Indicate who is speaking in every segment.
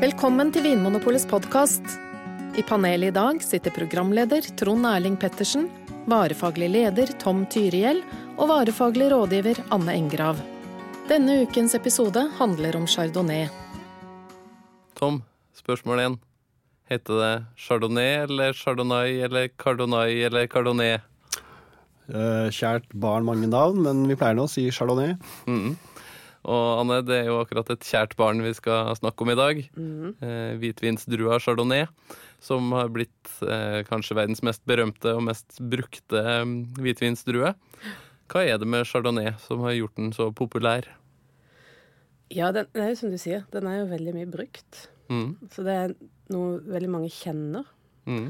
Speaker 1: Velkommen til Vinmonopolets podkast. I panelet i dag sitter programleder Trond Erling Pettersen, varefaglig leder Tom Tyrihjell og varefaglig rådgiver Anne Engrav. Denne ukens episode handler om chardonnay.
Speaker 2: Tom, spørsmål én. Heter det chardonnay eller chardonnay eller cardonnay eller cardonnay?
Speaker 3: Eh, Kjært barn mange navn, men vi pleier nå å si chardonnay.
Speaker 2: Og Anne, det er jo akkurat et kjært barn vi skal snakke om i dag. Eh, hvitvinsdrua chardonnay, som har blitt eh, kanskje verdens mest berømte og mest brukte eh, hvitvinsdrue. Hva er det med chardonnay som har gjort den så populær?
Speaker 4: Ja, den, det er jo som du sier, den er jo veldig mye brukt.
Speaker 2: Mm.
Speaker 4: Så det er noe veldig mange kjenner.
Speaker 2: Mm.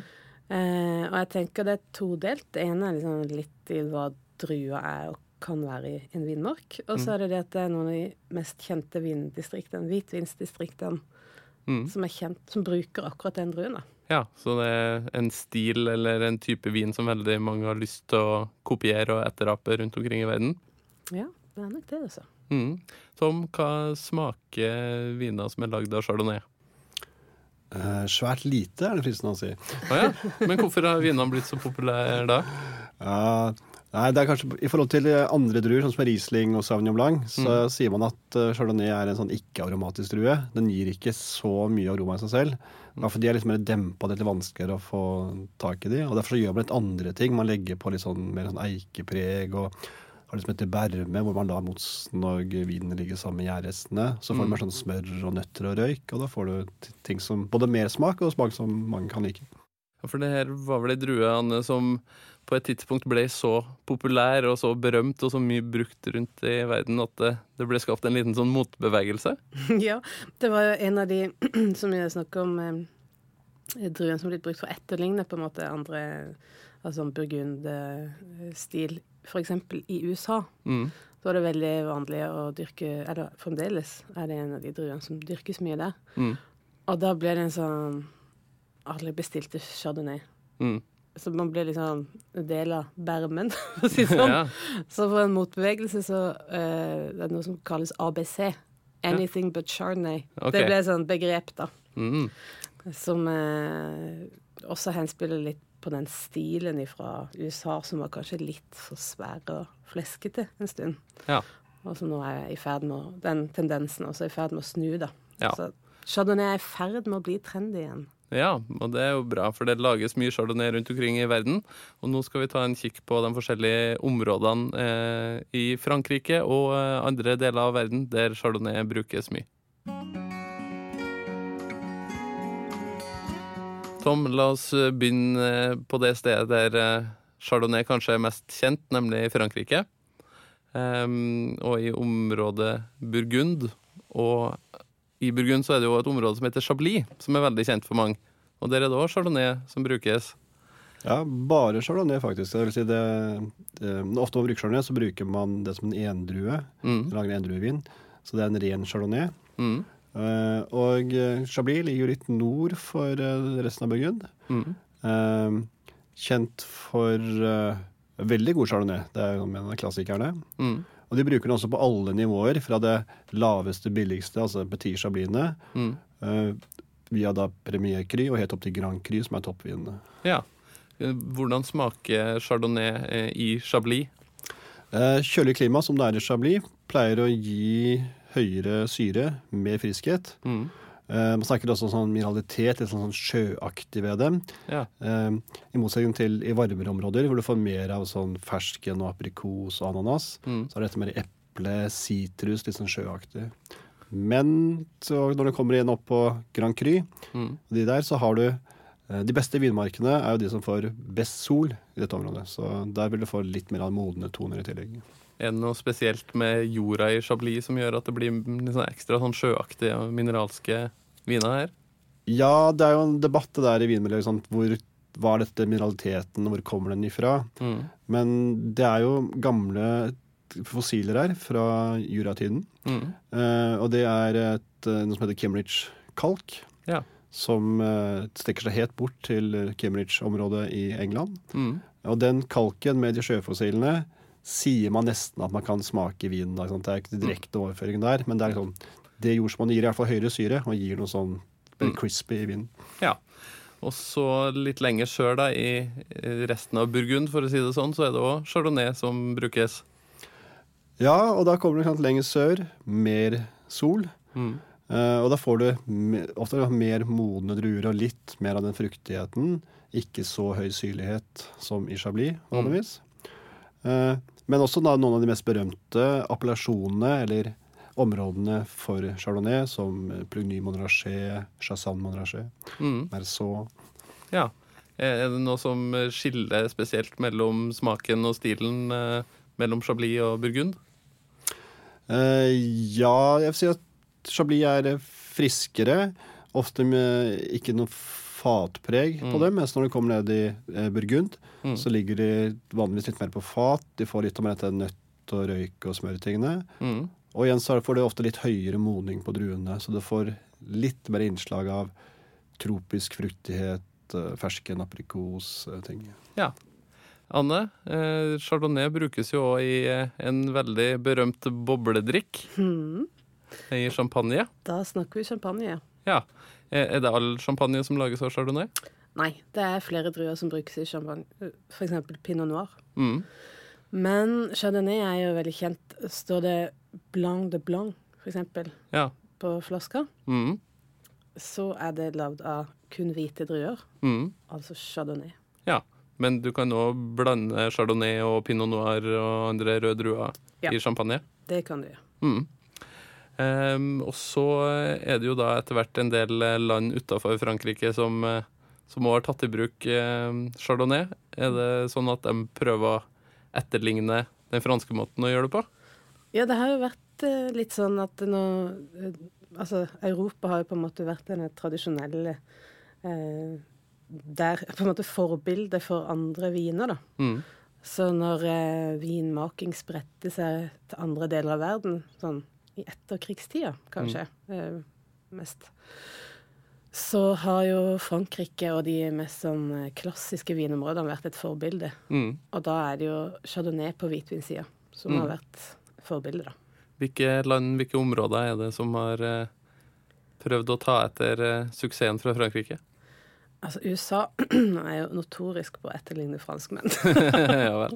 Speaker 4: Eh, og jeg tenker det er todelt. Det ene er liksom litt i hva drua er og kan være i en vinmark. Og så er det det at det er noen av de mest kjente vindistriktene, hvitvinsdistriktene,
Speaker 2: Mm.
Speaker 4: som er kjent, som bruker akkurat den druen. da.
Speaker 2: Ja, så det er en stil eller en type vin som veldig mange har lyst til å kopiere og etterape rundt omkring i verden.
Speaker 4: Ja, det er nok det, altså.
Speaker 2: Mm. Tom, hva smaker viner som er lagd av chardonnay?
Speaker 3: Eh, svært lite, er det fristende å si.
Speaker 2: Å ja, men hvorfor har vinene blitt så populære da?
Speaker 3: Ja, nei, det er kanskje I forhold til eh, andre druer, sånn som Riesling og Sauvignon Blanc, så sier man at eh, chardonnay er en sånn ikke-aromatisk drue. Den gir ikke så mye aroma i seg selv. Derfor de er litt mer dempa, det er litt vanskeligere å få tak i de. Og derfor så gjør man litt andre ting. Man legger på litt sånn mer sånn eikepreg og har det som heter berme, hvor man lar motsen og vinen ligge sammen med gjærrestene. Så får du mer sånn smør og nøtter og røyk, og da får du t- ting som både mer smak og smak som mange kan like.
Speaker 2: Ja, For det her var vel ei drue, Anne, som på et tidspunkt ble så populær og så berømt og så mye brukt rundt i verden at det, det ble skapt en liten sånn motbevegelse.
Speaker 4: ja, det var jo en av de som jeg snakker om eh, druen som er blitt brukt for å etterligne på en måte andre altså burgundstil, f.eks. i USA.
Speaker 2: Mm.
Speaker 4: Så var det veldig vanlig å dyrke Eller fremdeles er det en av de druene som dyrkes mye der.
Speaker 2: Mm.
Speaker 4: Og da ble det en sånn Alle bestilte chardonnay.
Speaker 2: Mm.
Speaker 4: Så man ble liksom en del av bermen, for å si det sånn.
Speaker 2: Ja.
Speaker 4: Så for en motbevegelse så eh, det er noe som kalles ABC. Anything but Chardonnay.
Speaker 2: Ok.
Speaker 4: Det ble et sånt begrep, da.
Speaker 2: Mm.
Speaker 4: Som eh, også henspiller litt på den stilen fra USA som var kanskje litt for svær og fleskete en stund.
Speaker 2: ja.
Speaker 4: Og som nå er i ferd med å, den tendensen også er i ferd med å snu, da.
Speaker 2: Ja.
Speaker 4: Så Chardonnay er i ferd med å bli trendy igjen.
Speaker 2: Ja, og det er jo bra, for det lages mye chardonnay rundt omkring i verden. Og nå skal vi ta en kikk på de forskjellige områdene eh, i Frankrike og eh, andre deler av verden der chardonnay brukes mye. Tom, la oss eh, begynne eh, på det stedet der eh, chardonnay kanskje er mest kjent, nemlig i Frankrike. Ehm, og i området Burgund. Og i Burgund så er det jo et område som heter Chablis, som er veldig kjent for mange. Og der er det òg chardonnay som brukes.
Speaker 3: Ja, bare chardonnay, faktisk. Det vil si det, det, ofte når man bruker chardonnay, så bruker man det som en endrue.
Speaker 2: Mm.
Speaker 3: Lager endruevin. Så det er en ren chardonnay.
Speaker 2: Mm.
Speaker 3: Eh, og eh, Chablis ligger jo litt nord for eh, resten av Burgund.
Speaker 2: Mm.
Speaker 3: Eh, kjent for eh, veldig god chardonnay. Det er jo en av klassikerne.
Speaker 2: Mm.
Speaker 3: Og de bruker den også på alle nivåer, fra det laveste, billigste, altså petit chablisene,
Speaker 2: Mm.
Speaker 3: eh, via da premier cru og helt opp til grand cru, som er toppvinene.
Speaker 2: Ja. Eh, Hvordan smaker chardonnay eh, i Chablis?
Speaker 3: Eh, Kjølig klima, som det er i Chablis, pleier å gi høyere syre, mer friskhet.
Speaker 2: Mm.
Speaker 3: Eh, Man snakker også om sånn mineralitet, litt sånn sånn sjøaktig ved dem.
Speaker 2: Ja.
Speaker 3: Eh, I motsetning til i varmere områder, hvor du får mer av sånn fersken og aprikos og ananas,
Speaker 2: Mm.
Speaker 3: så er dette mer eple, sitrus, litt sånn sjøaktig. Men så når du kommer igjen opp på Grand Cru,
Speaker 2: Mm.
Speaker 3: og de der, så har du eh, De beste vinmarkene er jo de som får best sol i dette området. Så der vil du få litt mer av modne toner i tillegg.
Speaker 2: Er det noe spesielt med jorda i Chablis som gjør at det blir litt sånn ekstra sånn sjøaktige og mineralske viner her?
Speaker 3: Ja, det er jo en debatt det der i vinmiljøet. ikke sant? Hvor hva er dette mineraliteten, hvor kommer den ifra?
Speaker 2: Mm.
Speaker 3: Men det er jo gamle fossiler her fra juratiden.
Speaker 2: Mm.
Speaker 3: Eh, og det er et, eh, noe som heter Cambridge-kalk,
Speaker 2: Ja.
Speaker 3: som eh, strekker seg helt bort til Cambridge-området i England.
Speaker 2: Mm.
Speaker 3: Og den kalken med de sjøfossilene, sier man nesten at man kan smake vinen. Da, ikke sant? Det er ikke direkte overføring der, men det er liksom, det jordsmonnet gir i hvert fall høyere syre og gir noe sånn veldig crispy i vinen.
Speaker 2: Ja. Og så litt lenger sør, da, i i resten av Burgund, for å si det sånn, så er det òg chardonnay som brukes.
Speaker 3: Ja, og da kommer du ikke sant, lenger sør, mer sol.
Speaker 2: Mm.
Speaker 3: Eh, og da får du me- ofte mer modne druer og litt mer av den fruktigheten. Ikke så høy syrlighet som i Chablis, vanligvis. Eh, men også da noen av de mest berømte appellasjonene eller områdene for chardonnay, som Plugny Monrachet, Chassan Monrachet,
Speaker 2: Mm.
Speaker 3: Merceau.
Speaker 2: Ja. Eh, Er det noe som skiller spesielt mellom smaken og stilen eh, mellom Chablis og Burgund?
Speaker 3: Eh, ja, jeg vil si at Chablis er eh, friskere. Ofte med ikke noe fatpreg på dem. Mens når de kommer ned i eh, Burgund, så ligger de vanligvis litt mer på fat. De får litt om dette nøtt og røyk og smørtingene.
Speaker 2: Mm.
Speaker 3: Og igjen så får de ofte litt høyere modning på druene. Så du får litt mer innslag av tropisk fruktighet, eh, fersken aprikos, eh, ting.
Speaker 2: Ja. Anne, eh, chardonnay brukes jo òg i eh, en veldig berømt bobledrikk i champagne.
Speaker 4: Da snakker vi champagne.
Speaker 2: Ja. Eh, Er er det all champagne som lages av chardonnay?
Speaker 4: Nei, det er flere druer som brukes i champagne, f.eks. pinot noir.
Speaker 2: Mm.
Speaker 4: Men chardonnay er jo veldig kjent. Står det blanc de blanc, f.eks.,
Speaker 2: Ja.
Speaker 4: på flaska,
Speaker 2: Mm.
Speaker 4: så er det lagd av kun hvite druer,
Speaker 2: Mm.
Speaker 4: altså chardonnay.
Speaker 2: ja. Men du kan òg blande chardonnay og pinot noir og andre røde druer
Speaker 4: Ja.
Speaker 2: i champagne?
Speaker 4: Det kan du gjøre.
Speaker 2: Mm. Ehm, og så er det jo da etter hvert en del eh, land utafor Frankrike som, eh, som også har tatt i bruk eh, chardonnay. Er det sånn at de prøver å etterligne den franske måten å gjøre det på?
Speaker 4: Ja, det har jo vært eh, litt sånn at nå eh, Altså, Europa har jo på en måte vært den tradisjonelle eh, Der på en måte forbildet for andre viner, da.
Speaker 2: Mm.
Speaker 4: Så når eh, vinmaking spredte seg til andre deler av verden, sånn i etterkrigstida kanskje eh, mest, så har jo Frankrike og de mest sånn eh, klassiske vinområdene vært et forbilde.
Speaker 2: Mm.
Speaker 4: Og da er det jo chardonnay på hvitvinsida som har vært forbildet, da.
Speaker 2: Hvilke land, hvilke områder er det som har eh, prøvd å ta etter eh, suksessen fra Frankrike?
Speaker 4: Altså, USA er jo notorisk på å etterligne franskmenn.
Speaker 2: ja vel.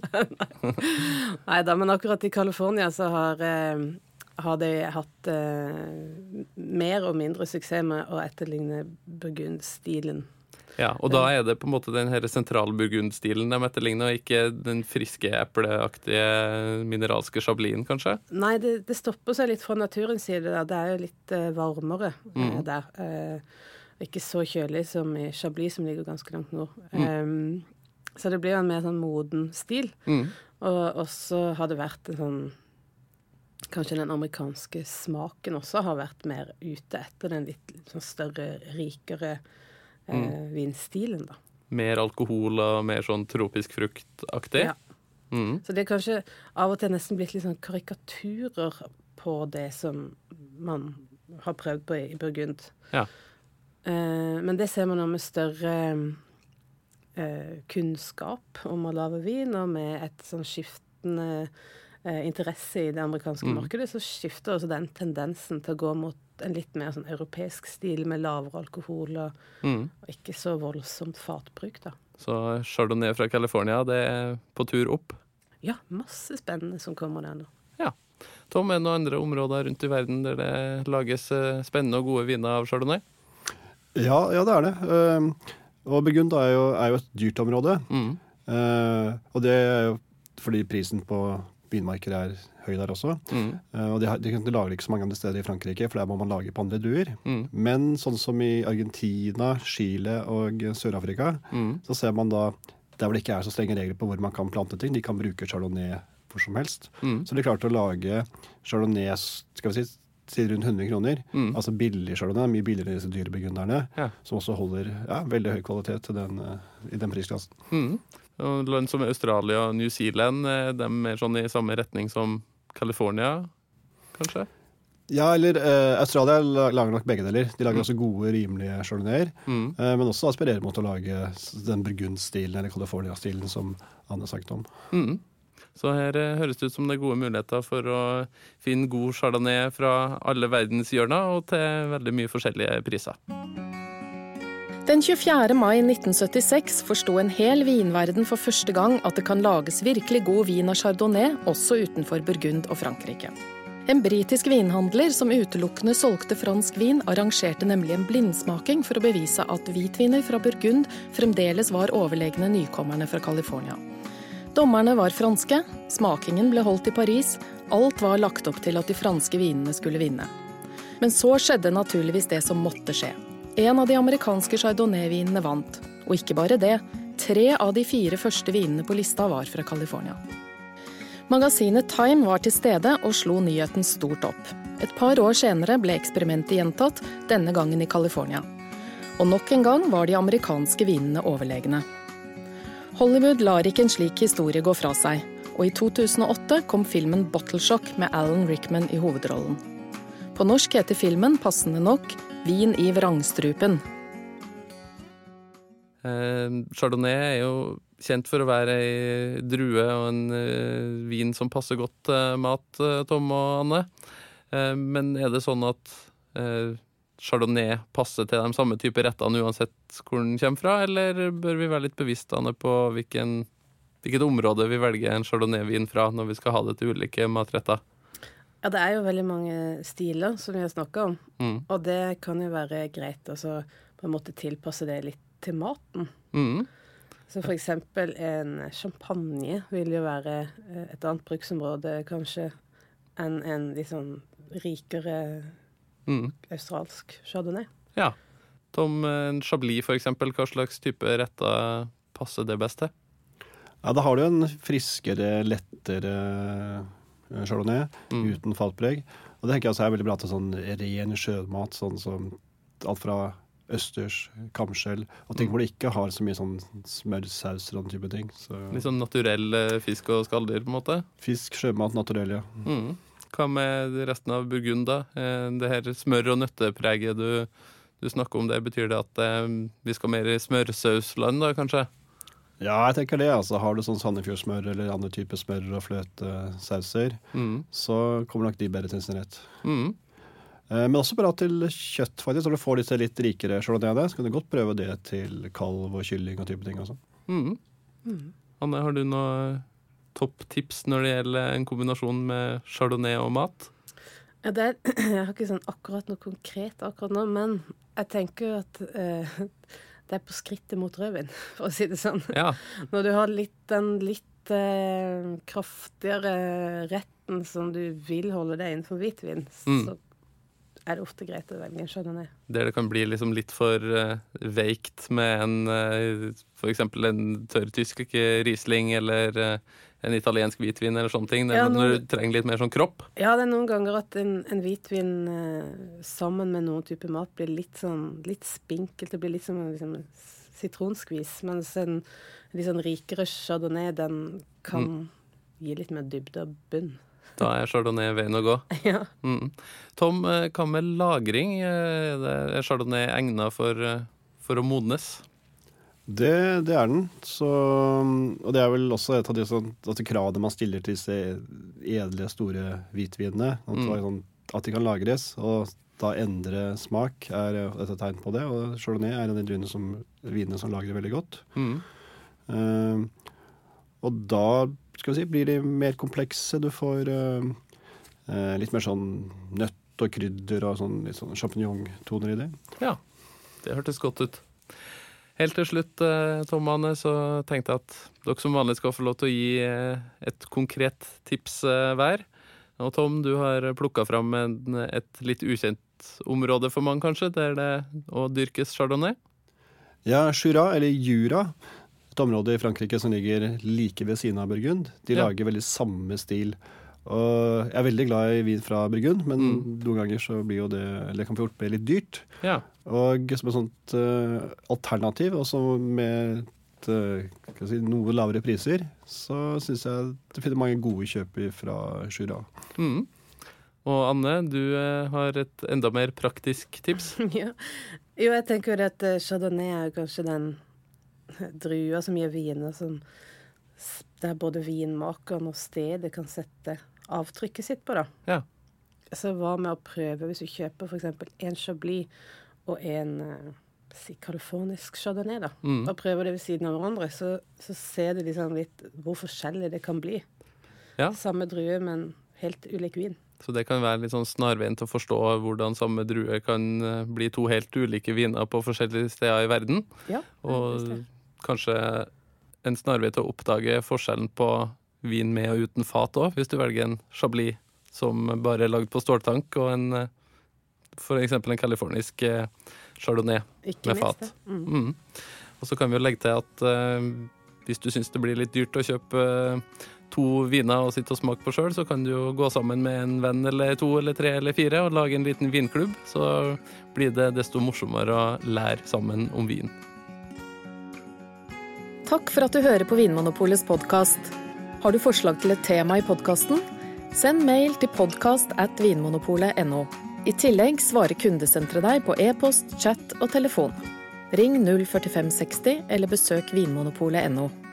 Speaker 4: Nei da, men akkurat i California så har, eh, har de hatt eh, mer og mindre suksess med å etterligne burgundstilen.
Speaker 2: Ja, og da er det på en måte den her sentralburgundstilen de etterligner, og ikke den friske epleaktige mineralske chablisen, kanskje?
Speaker 4: Nei, det, det stopper seg litt fra naturens side. Da. Det er jo litt eh, varmere eh, der. Eh, ikke så kjølig som i Chablis, som ligger ganske langt nord. Eh, så det blir jo en mer sånn moden stil.
Speaker 2: Mm.
Speaker 4: Og også har det vært en sånn Kanskje den amerikanske smaken også har vært mer ute etter den litt sånn større, rikere eh, vinstilen, da.
Speaker 2: mer alkohol og mer sånn tropisk fruktaktig.
Speaker 4: Ja.
Speaker 2: Mm.
Speaker 4: Så det er kanskje av og til nesten blitt litt sånn karikaturer på det som man har prøvd på i i Burgund.
Speaker 2: Ja.
Speaker 4: Eh, men det ser man nå med større eh, kunnskap om å lage vin, og med et sånn skiftende eh, interesse i det amerikanske markedet, så skifter også den tendensen til å gå mot en litt mer sånn europeisk stil med lavere alkohol og,
Speaker 2: Mm.
Speaker 4: og ikke så voldsomt fatbruk, da.
Speaker 2: Så chardonnay fra California, det er på tur opp.
Speaker 4: Ja, masse spennende som kommer der nå.
Speaker 2: Ja. Tom, er det noen andre områder rundt i verden der det lages eh, spennende og gode viner av chardonnay?
Speaker 3: Ja, ja, det er det. Eh, og Burgund er jo, er jo et dyrt område.
Speaker 2: Mm.
Speaker 3: Eh, og det er jo fordi prisen på vinmarker er høy der også.
Speaker 2: Mm.
Speaker 3: Eh, og de, har- de, kan- de lager ikke så mange andre steder i Frankrike, for der må man lage på andre duer.
Speaker 2: Mm.
Speaker 3: Men sånn som i Argentina, Chile og Sør-Afrika,
Speaker 2: Mm.
Speaker 3: så ser man da der hvor det ikke er så strenge regler på hvor man kan plante ting. De kan bruke chardonnay hvor som helst.
Speaker 2: Mm.
Speaker 3: Så de klarte å lage chardonnay skal vi si, til rundt 100 kroner.
Speaker 2: Mm.
Speaker 3: Altså billig chardonnay, mye billigere enn disse dyre burgunderne.
Speaker 2: Ja.
Speaker 3: Som også holder ja, veldig høy kvalitet til den, eh, i den prisklassen.
Speaker 2: Mm. Og land som Australia og New Zealand, eh, de er sånn i samme retning som California, kanskje?
Speaker 3: Ja, eller eh, Australia la- lager nok begge deler. De lager også gode, rimelige chardonnayer.
Speaker 2: Mm.
Speaker 3: eh, men også aspirerer mot å lage s- den burgundstilen eller California-stilen som Anne snakket om.
Speaker 2: Mm. Så her eh, høres det ut som det er gode muligheter for å finne god chardonnay fra alle verdens hjørner, og til veldig mye forskjellige priser.
Speaker 1: Den 24. mai 1976 forsto en hel vinverden for første gang at det kan lages virkelig god vin av chardonnay også utenfor Burgund og Frankrike. En britisk vinhandler som utelukkende solgte fransk vin, arrangerte nemlig en blindsmaking for å bevise at hvitviner fra Burgund fremdeles var overlegne nykommerne fra California. Dommerne var franske, smakingen ble holdt i Paris, alt var lagt opp til at de franske vinene skulle vinne. Men så skjedde naturligvis det som måtte skje. En av de amerikanske chardonnay-vinene vant. Og ikke bare det, tre av de fire første vinene på lista var fra California. Magasinet Time var til stede og slo nyheten stort opp. Et par år senere ble eksperimentet gjentatt, denne gangen i California. Og nok en gang var de amerikanske vinene overlegne. Hollywood lar ikke en slik historie gå fra seg, og i 2008 kom filmen 'Bottleshock' med Alan Rickman i hovedrollen. På norsk heter filmen passende nok 'Vin i vrangstrupen'.
Speaker 2: Eh, Chardonnay er jo kjent for å være ei drue og en eh, vin som passer godt til mat, eh, Tom og Anne. Eh, men er det sånn at eh, chardonnay passer til de samme type rettene uansett hvor den kommer fra, eller bør vi være litt bevisst Anne, på hvilken, hvilket område vi velger en chardonnay-vin fra når vi skal ha det til ulike matretter?
Speaker 4: Ja, det er jo veldig mange stiler som vi har snakka om,
Speaker 2: Mm.
Speaker 4: og det kan jo være greit altså, på en måte tilpasse det litt til maten.
Speaker 2: Mm.
Speaker 4: Så for eksempel en champagne vil jo være eh, et annet bruksområde kanskje enn en litt sånn rikere
Speaker 2: Mm.
Speaker 4: australsk chardonnay.
Speaker 2: Ja. Tom, eh, en chablis for eksempel, hva slags type retter passer det best til?
Speaker 3: Ja, da har du en friskere, lettere eh, chardonnay
Speaker 2: Mm.
Speaker 3: uten fatpreg. Og det tenker jeg også er veldig bra til sånn ren sjømat, sånn som alt fra østers, kamskjell og
Speaker 2: Mm.
Speaker 3: ting hvor du ikke har så mye sånn smørsauser og den type ting. Så
Speaker 2: Litt sånn naturell eh, fisk og skalldyr, på en måte.
Speaker 3: fisk, sjømat, naturell, ja.
Speaker 2: Mm. Hva med resten av Burgund, da? Eh, Det her smør- og nøttepreget du, du snakker om, det betyr det at eh, vi skal mer i smørsausland, da, kanskje?
Speaker 3: Ja, jeg tenker det. altså Har du sånn Sandefjordsmør eller andre typer smør og fløtesauser,
Speaker 2: Mm.
Speaker 3: så kommer nok de bedre til sin rett.
Speaker 2: Mm.
Speaker 3: Eh, Men også bra til kjøtt, faktisk. Når du får disse litt rikere chardonnayene, så kan du godt prøve det til kalv og kylling og type ting også.
Speaker 2: Mm.
Speaker 4: Mm.
Speaker 2: Anne, har du noe topptips når det gjelder en kombinasjon med chardonnay og mat?
Speaker 4: Ja, det er, jeg har ikke sånn akkurat noe konkret akkurat nå, men jeg tenker jo at eh, det er på skrittet mot rødvin, for å si det sånn.
Speaker 2: Ja.
Speaker 4: Når du har litt, den litt eh, kraftigere retten som du vil holde deg innenfor hvitvin,
Speaker 2: Mm.
Speaker 4: så er det ofte greit å velge en chardonnay.
Speaker 2: Der det kan bli liksom litt for eh, veikt med en eh, for eksempel en tørr tysk riesling eller eh, en italiensk hvitvin eller sånne ting.
Speaker 4: Ja,
Speaker 2: når
Speaker 4: nå-
Speaker 2: du trenger litt mer sånn kropp.
Speaker 4: Ja, det er noen ganger at en, en hvitvin eh, sammen med noen type mat blir litt sånn litt spinkelt. Det blir litt som en liksom, sitronskvis. Mens en litt sånn rikere chardonnay, den kan gi litt mer dybde og bunn.
Speaker 2: Da er chardonnay veien å gå.
Speaker 4: ja.
Speaker 2: Mm. Tom, eh, hva med lagring? Eh, det- Er chardonnay egnet for, eh, for å modnes?
Speaker 3: Det, det er den. Så, og det er vel også et av de sånn, at de kravene man stiller til disse edle, store hvitvinene. At, det
Speaker 2: Mm.
Speaker 3: er sånn, at de kan lagres og da endre smak er et tegn på det. Og chardonnay er en av de druene som, vinene som lagrer veldig godt.
Speaker 2: Mm.
Speaker 3: Eh, og da skal vi si, blir de mer komplekse. Du får eh, eh, litt mer sånn nøtt og krydder og sånn, litt sånn sjampinjongtoner i det.
Speaker 2: Ja, det hørtes godt ut. Helt til slutt, eh, Tom og Anne, så tenkte jeg at dere som vanlig skal få lov til å gi eh, et konkret tips eh, hver. Og Tom, du har plukka fram en, et litt ukjent område for mange, kanskje, der det å dyrkes chardonnay.
Speaker 3: Ja, Jura, eller Jura, et område i Frankrike som ligger like ved siden av Burgund. De
Speaker 2: Ja.
Speaker 3: lager veldig samme stil. Og jeg er veldig glad i vin fra Burgund, men noen ganger så blir jo det, eller kan fort bli litt dyrt.
Speaker 2: Ja.
Speaker 3: Og som et sånt eh, alternativ, også med et, eh, skal jeg si, noe lavere priser, så syns jeg du finner mange gode kjøp fra Jura.
Speaker 2: Mm. Og Anne, du eh, har et enda mer praktisk tips.
Speaker 4: ja. Jo, jeg tenker jo det at eh, chardonnay er jo kanskje den drua som gir viner som s- der både vinmakeren og stedet kan sette avtrykket sitt på. da.
Speaker 2: Ja.
Speaker 4: Så hva med å prøve, hvis du kjøper f.eks. en Chablis og en eh, si californisk chardonnay, da,
Speaker 2: Mm.
Speaker 4: og prøver det ved siden av hverandre, så, så ser du liksom litt hvor forskjellig det kan bli.
Speaker 2: Ja.
Speaker 4: Samme drue, men helt ulik vin.
Speaker 2: Så det kan være litt sånn snarveien til å forstå hvordan samme drue kan eh, bli to helt ulike viner på forskjellige steder i verden.
Speaker 4: Ja,
Speaker 2: Og
Speaker 4: det.
Speaker 2: kanskje en snarvei til å oppdage forskjellen på vin med og uten fat òg, hvis du velger en chablis som bare er lagd på ståltank, og en eh, for eksempel en californisk eh, chardonnay.
Speaker 4: Ikke
Speaker 2: med
Speaker 4: minst
Speaker 2: fat.
Speaker 4: det. Mm.
Speaker 2: Mm. Og så kan vi jo legge til at eh, hvis du syns det blir litt dyrt å kjøpe eh, to viner og sitte og smake på sjøl, så kan du jo gå sammen med en venn eller to eller tre eller fire og lage en liten vinklubb. Så blir det desto morsommere å lære sammen om vin.
Speaker 1: Takk for at du hører på Vinmonopolets podkast. Har du forslag til et tema i podkasten? Send mail til podkast at vinmonopolet.no. I tillegg svarer kundesenteret deg på e-post, chat og telefon. Ring 04560 eller besøk vinmonopolet.no.